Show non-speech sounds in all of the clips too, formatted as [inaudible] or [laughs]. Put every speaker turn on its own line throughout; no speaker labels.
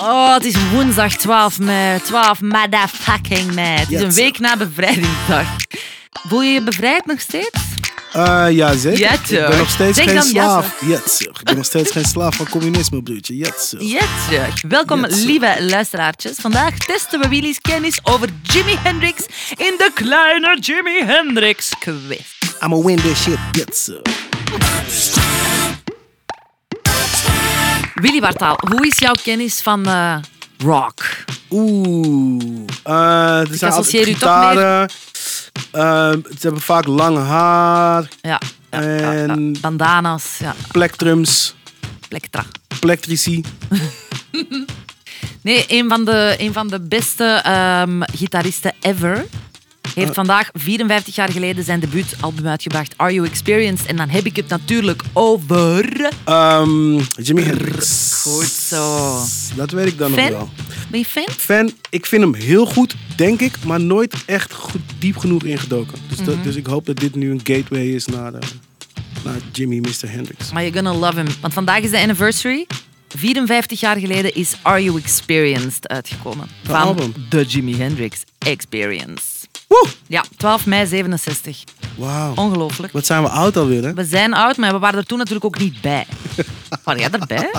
Oh, het is woensdag 12 mei. 12 motherfucking mei. Het is een week na bevrijdingsdag. Voel je je bevrijd nog steeds?
Eh, ja, zeker.
Ja,
ik ben nog
toch.
steeds
Denk
geen
dan ja,
slaaf. Jetser. Ik ben nog steeds geen slaaf van communisme, broertje. Jetser.
Jetjek. Welkom,
Jetjek.
lieve luisteraartjes. Vandaag testen we Willy's kennis over Jimi Hendrix in de kleine Jimi Hendrix quiz.
I'ma win this shit. Jetser.
Willy Bartaal, hoe is jouw kennis van eh, rock?
Oeh. Eh er zijn altijd
associeer u toch
gitaren. Ehm, ze hebben vaak lang haar.
Ja, ja, ja, ja.
En-
bandana's, ja,
Plectrums.
plektra.
Plectrici.
Nee, een van de, een van de beste ehm, gitaristen ever.
Eh.
Heeft vandaag, 54 jaar geleden, zijn debuutalbum uitgebracht. Are You Experienced? En dan heb ik het natuurlijk over...
Ehm Jimi Hendrix.
Goed zo.
Dat weet ik dan nog
Fan?
wel.
Ben je fan?
Fan, ik vind hem heel goed, denk ik, maar nooit echt goed, diep genoeg ingedoken. Dus,
Mhm.
dat- dus ik hoop dat dit nu een gateway is naar, de, naar Jimi Mr. Hendrix.
Maar you're gonna love him. Want vandaag is de anniversary. 54 jaar geleden is Are You Experienced uitgekomen. van
album.
The Jimi Hendrix Experience.
Woe!
Ja, 12 mei 67.
Wauw.
Ongelooflijk.
Wat zijn we oud alweer, hè?
We zijn oud, maar we waren er toen natuurlijk ook niet
[laughs]
bij. Waren jij erbij?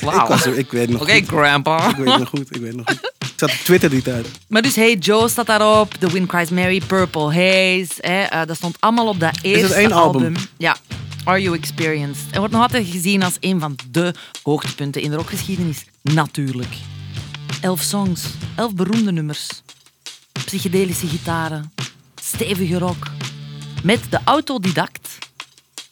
Wauw.
Ik, was er- ik weet nog
Oké,
goed.
grandpa.
Ik weet nog goed, ik weet nog goed. Ik zat op Twitter die tijd.
[laughs] Maar dus Hey Joe staat daarop, The Wind Cries Mary, Purple Haze. Hè, eh, dat stond allemaal op dat eerste
één album?
Ja, Are You Experienced. En wordt nog altijd gezien als een van de hoogtepunten in de rockgeschiedenis. Natuurlijk. Elf songs, elf beroemde nummers. Psychedelische gitaren, stevige rock. Met de autodidact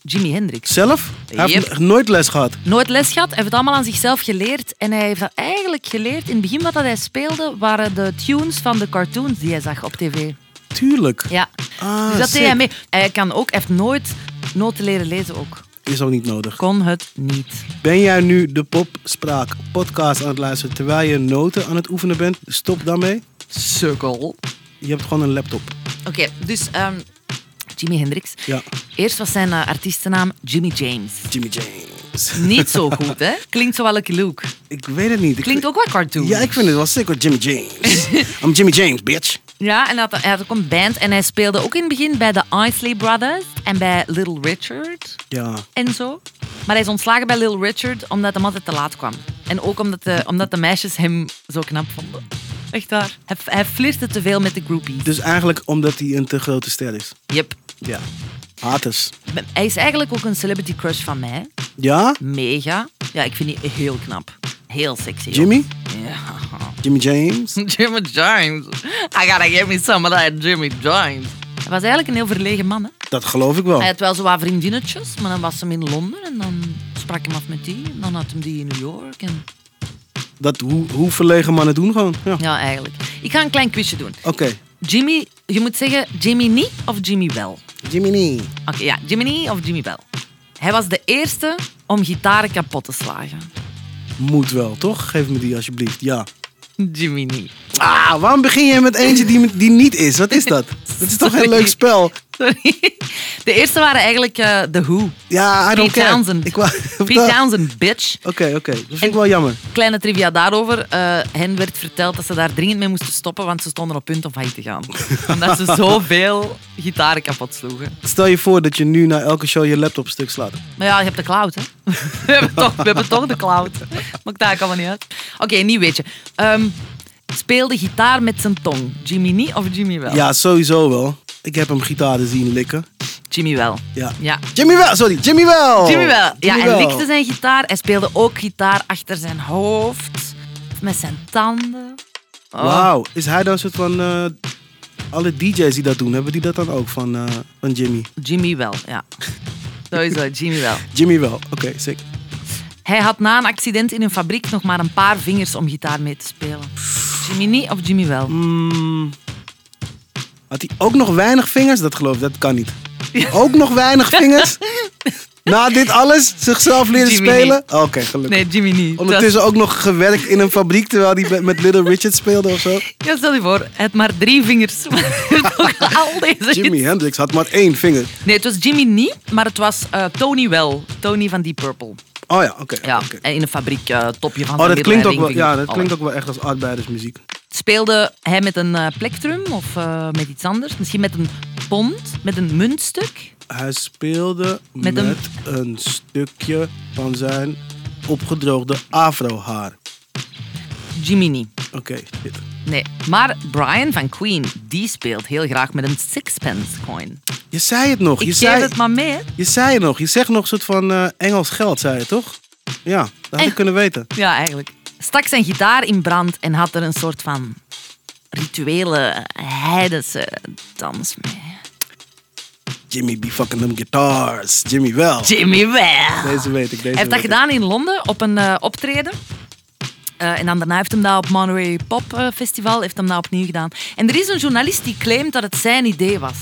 Jimi Hendrix.
Zelf? Hij heeft
Yep.
n- nooit les gehad.
Nooit les gehad, hij heeft het allemaal aan zichzelf geleerd. En hij heeft dat eigenlijk geleerd, in het begin wat dat hij speelde, waren de tunes van de cartoons die hij zag op tv.
Tuurlijk.
Ja.
Ah,
dus dat deed
sick.
hij mee. Hij kan ook, hij heeft nooit noten leren lezen ook.
Is ook niet nodig.
Kon het niet.
Ben jij nu de Popspraak podcast aan het luisteren terwijl je noten aan het oefenen bent? Stop daarmee.
Sukkel. Oké,
Je hebt gewoon een laptop.
dus ehm, Jimi Hendrix.
Ja,
Eerst was zijn eh, artiestennaam Jimmy James.
Jimmy James.
Niet zo goed,
[laughs]
hè? Klinkt zo wel een Luke.
Ik weet het niet. Ik-
Klinkt ook wel cartoon.
Ja, ik vind het wel sick hoor. Jimmy James.
[laughs]
I'm Jimmy James, bitch.
Ja, en hij had, hij had ook een band en hij speelde ook in het begin bij de Isley Brothers en bij Little Richard.
Ja.
en zo. Maar hij is ontslagen bij Lil Richard omdat de man altijd te laat kwam. En ook omdat de, omdat de meisjes hem zo knap vonden. Echt waar. Hij, hij flirte te veel met de groupies.
Dus eigenlijk omdat hij een te grote ster is.
Yep.
Ja. Haters.
Hij is eigenlijk ook een celebrity crush van mij.
Ja?
Mega. Ja, ik vind die heel knap. Heel sexy. ook.
Jimmy?
Ja.
Jimmy James?
[laughs] Jimmy James. I gotta give me some of that Jimmy James. Hij was eigenlijk een heel verlegen man. Hè?
Dat geloof ik wel.
Hij had wel zo wat vriendinnetjes, maar dan was hem in Londen en dan sprak hem af met die. En dan had hem die in New York. En...
Dat, hoe, hoe verlegen mannen doen gewoon. Ja. Oké.
Ja, eigenlijk. Ik ga een klein quizje doen. Jimmy, je moet zeggen Jimmy niet of Jimmy wel. Oké,
Jimmy Nee.
ja, Jimmy niet of Jimmy wel. Hij was de eerste om gitaren kapot te slagen.
Moet wel, toch? Geef me die alsjeblieft. Ja.
Jimmy niet.
Ah, waarom begin je met eentje die, die niet is? Wat is dat?
[laughs]
Dat is toch een leuk spel?
Sorry. De eerste waren eigenlijk eh The Who.
Ja, I don't
Pete
care.
Townsend.
Ik wou-
[laughs]
[laughs]
Pete Townsend, bitch.
Oké, oké. Dat vind ik wel jammer.
Kleine trivia daarover. Eh, hen werd verteld dat ze daar dringend mee moesten stoppen, want ze stonden op punt om failliet te
[laughs]
gaan. Omdat ze zoveel gitaren kapot sloegen.
Stel je voor dat je nu na elke show je laptop stuk slaat.
Maar ja, je hebt de cloud, hè. [laughs] We hebben toch, we hebben toch de cloud. Maakt daar allemaal niet uit. Oké, nieuw weetje. Ehm, speelde gitaar met zijn tong. Jimmy niet of Jimmy wel?
Ja, sowieso wel. Ik heb hem gitaren zien likken.
Jimmy wel.
Ja.
Ja.
Jimmy wel, sorry, Jimmy wel.
Jimmy wel. Ja,
Oh, Jimmy
hij
wel.
likte zijn gitaar. Hij speelde ook gitaar achter zijn hoofd. Met zijn tanden. Oh.
Wauw, is hij dan een soort van... eh, alle DJ's die dat doen, hebben die dat dan ook van, eh, van Jimmy?
Jimmy wel, ja. Sowieso, Jimmy wel.
Jimmy wel, oké, sick.
Hij had na een accident in een fabriek nog maar een paar vingers om gitaar mee te spelen. Jimmy niet of Jimmy wel?
Hmm. Had hij ook nog weinig vingers? Dat geloof ik, dat kan niet. Ook nog weinig
[laughs]
vingers? Na dit alles, zichzelf leren
Jimmy
spelen? Oké, gelukkig.
Nee, Jimmy niet.
Ondertussen ook nog gewerkt in een fabriek terwijl hij met- met Little Richard speelde
[laughs]
of zo.
Ja, stel je voor, het maar drie vingers. Maar
[laughs]
toch al deze
Jimi Hendrix had maar één vinger.
Nee, het was Jimmy niet, maar het was eh, Tony wel. Tony van Deep Purple.
Oh ja, oké. oké,
Ja,
oké.
en in een fabriek, eh, topje van
Oh,
zijn
dat klinkt, ook wel,
middenleiding,
ja,
vinger,
dat klinkt
alles.
ook wel echt als arbeidersmuziek.
Speelde hij met een eh, plektrum of eh, met iets anders? Misschien met een pond, met een muntstuk?
Hij speelde met,
Met een-
een stukje van zijn opgedroogde afrohaar.
Jiminy.
Oké, shit.
Nee, maar Brian van Queen, die speelt heel graag met een sixpence coin.
Je zei het nog. Je
Ik
zei,
geef het maar mee. hè.
je zei het nog. Je zegt nog een soort van eh, Engels geld, zei je toch? Ja, dat had ik
Echt?
kunnen weten.
Ja, eigenlijk. Stak zijn gitaar in brand en had er een soort van rituele heidense dans mee.
Jimmy be fucking them guitars. Jimmy wel.
Jimmy wel.
Deze weet ik. Deze
Hij heeft dat
weet ik.
gedaan in Londen op een eh, optreden. Eh, en dan daarna heeft hem dat op Monterey Pop eh, Festival heeft hem dat opnieuw gedaan. En er is een journalist die claimt dat het zijn idee was.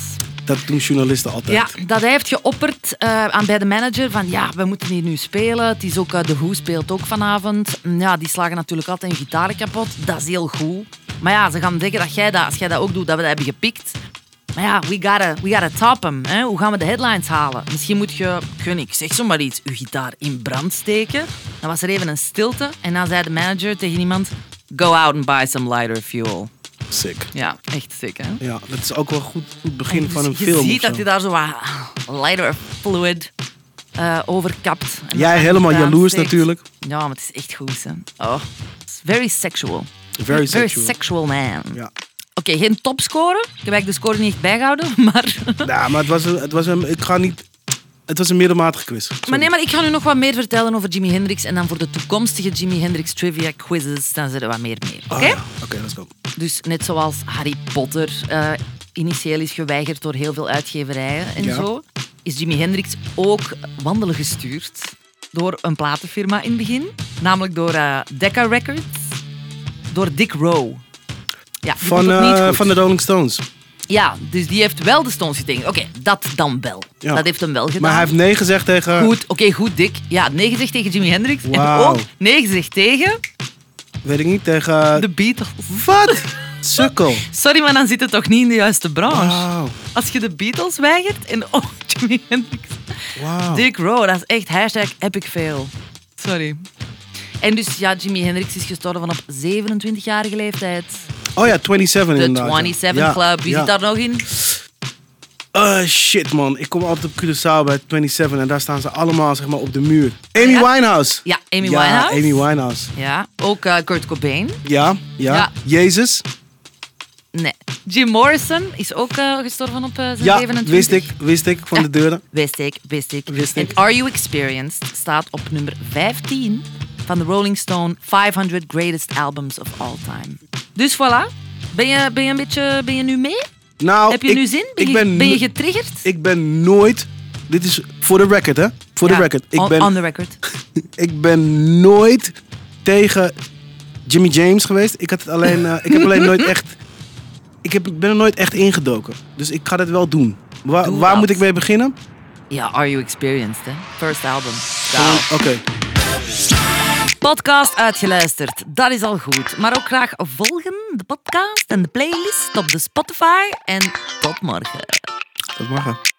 Dat doen journalisten altijd.
Ja, dat hij heeft geopperd eh, aan bij de manager van ja, we moeten hier nu spelen. Het is ook, eh, de Who speelt ook vanavond. Mm, Ja, die slagen natuurlijk altijd hun gitaren kapot. Dat is heel goed. Maar ja, ze gaan denken dat jij dat, als jij dat ook doet, dat we dat hebben gepikt. Maar ja, we gotta, we gotta top hem. Hè? Hoe gaan we de headlines halen? Misschien moet je, gun ik, zeg zomaar iets, je gitaar in brand steken. Dan was er even een stilte en dan zei de manager tegen iemand... Go out and buy some lighter fuel.
Sick.
Ja, echt sick, hè?
Ja, dat is ook wel goed het begin
Dus
van een
je
film.
ziet
of
dat
zo.
hij daar zo wat lighter fluid eh, overkapt. En
Jij
dan
helemaal
eraan
jaloers
steekt.
natuurlijk.
Ja, maar het is echt goed. Hè. Oh, it's very sexual.
Very sexual.
man.
Ja.
Oké, geen topscore. Ik heb eigenlijk de score niet echt bijgehouden. [laughs] Maar,
Ja, Nou, maar het was een, het was een, ik ga niet, het was een middelmatige quiz. Sorry.
maar nee, maar ik ga nu nog wat meer vertellen over Jimi Hendrix. En dan voor de toekomstige Jimi Hendrix trivia quizzes, dan zitten er wat meer mee. Oké?
Ah, ja. Oké, let's go.
Dus net zoals Harry Potter eh, initieel is geweigerd door heel veel uitgeverijen en
Ja.
zo, is Jimi Hendrix ook wandelen gestuurd door een platenfirma in het begin, namelijk door eh, Decca Records, door Dick Rowe. Ja, die
Van,
vond het niet
eh,
goed.
van de Rolling Stones.
Ja, dus die heeft wel de Stones getekend. Oké, dat dan wel.
Ja.
Dat heeft hem wel gedaan.
Maar hij heeft nee gezegd tegen...
Goed, oké, goed, Dick. Ja, nee gezegd tegen Jimi Hendrix. En
Wauw.
ook nee gezegd tegen
Weet ik niet, tegen...
de Oh, Beatles.
Eh, Wat? Sukkel.
[laughs]
Oh,
Sorry, maar dan zit het toch niet in de juiste branche?
Wauw.
Als je de Beatles weigert [laughs] en oh, Jimi Hendrix.
Wauw.
Dick Rowe, dat is echt hashtag epic fail. Sorry. En dus ja, Jimi Hendrix is gestorven op 27-jarige leeftijd.
Oh ja, 27
De
inderdaad. ja.
27
Ja,
Club, wie
ja.
zit daar nog in?
Eh, shit man, ik kom altijd op Curaçao bij 27 en daar staan ze allemaal zeg maar, op de muur. Amy
Ja?
Winehouse.
Ja, Amy
ja,
Winehouse.
Amy Winehouse.
Ja, ook eh, Kurt Cobain.
Ja, ja.
Ja.
Jezus.
Nee. Jim Morrison is ook eh, gestorven op eh, zijn
Ja,
27.
wist ik, wist ik van de deuren.
Wist ik, wist ik.
Wist ik.
En Are You Experienced staat op nummer 15 van de Rolling Stone 500 Greatest Albums of All Time. Dus voilà. Ben je, ben je, een beetje, ben je nu mee?
Nou,
Heb je
ik,
nu zin? Ben,
ik
je,
ben,
ben je
no-
getriggerd?
ik ben nooit. Dit is voor de record, hè? Voor de
Ja,
record. Ik
on,
ben,
on the record.
ik ben nooit tegen Jimmy James geweest. Ik, had het alleen, eh, ik heb alleen
[laughs]
nooit echt. Ik heb, ik ben er nooit echt ingedoken. Dus ik ga dat wel doen. Waar,
Doe
waar
dat.
moet ik mee beginnen?
Ja, Are You Experienced, hè? First album.
Gewoon-
Ciao.
Oké.
Podcast uitgeluisterd, dat is al goed. Maar ook graag volgen de podcast en de playlist op de Spotify. En tot morgen.
Dat mag. hè.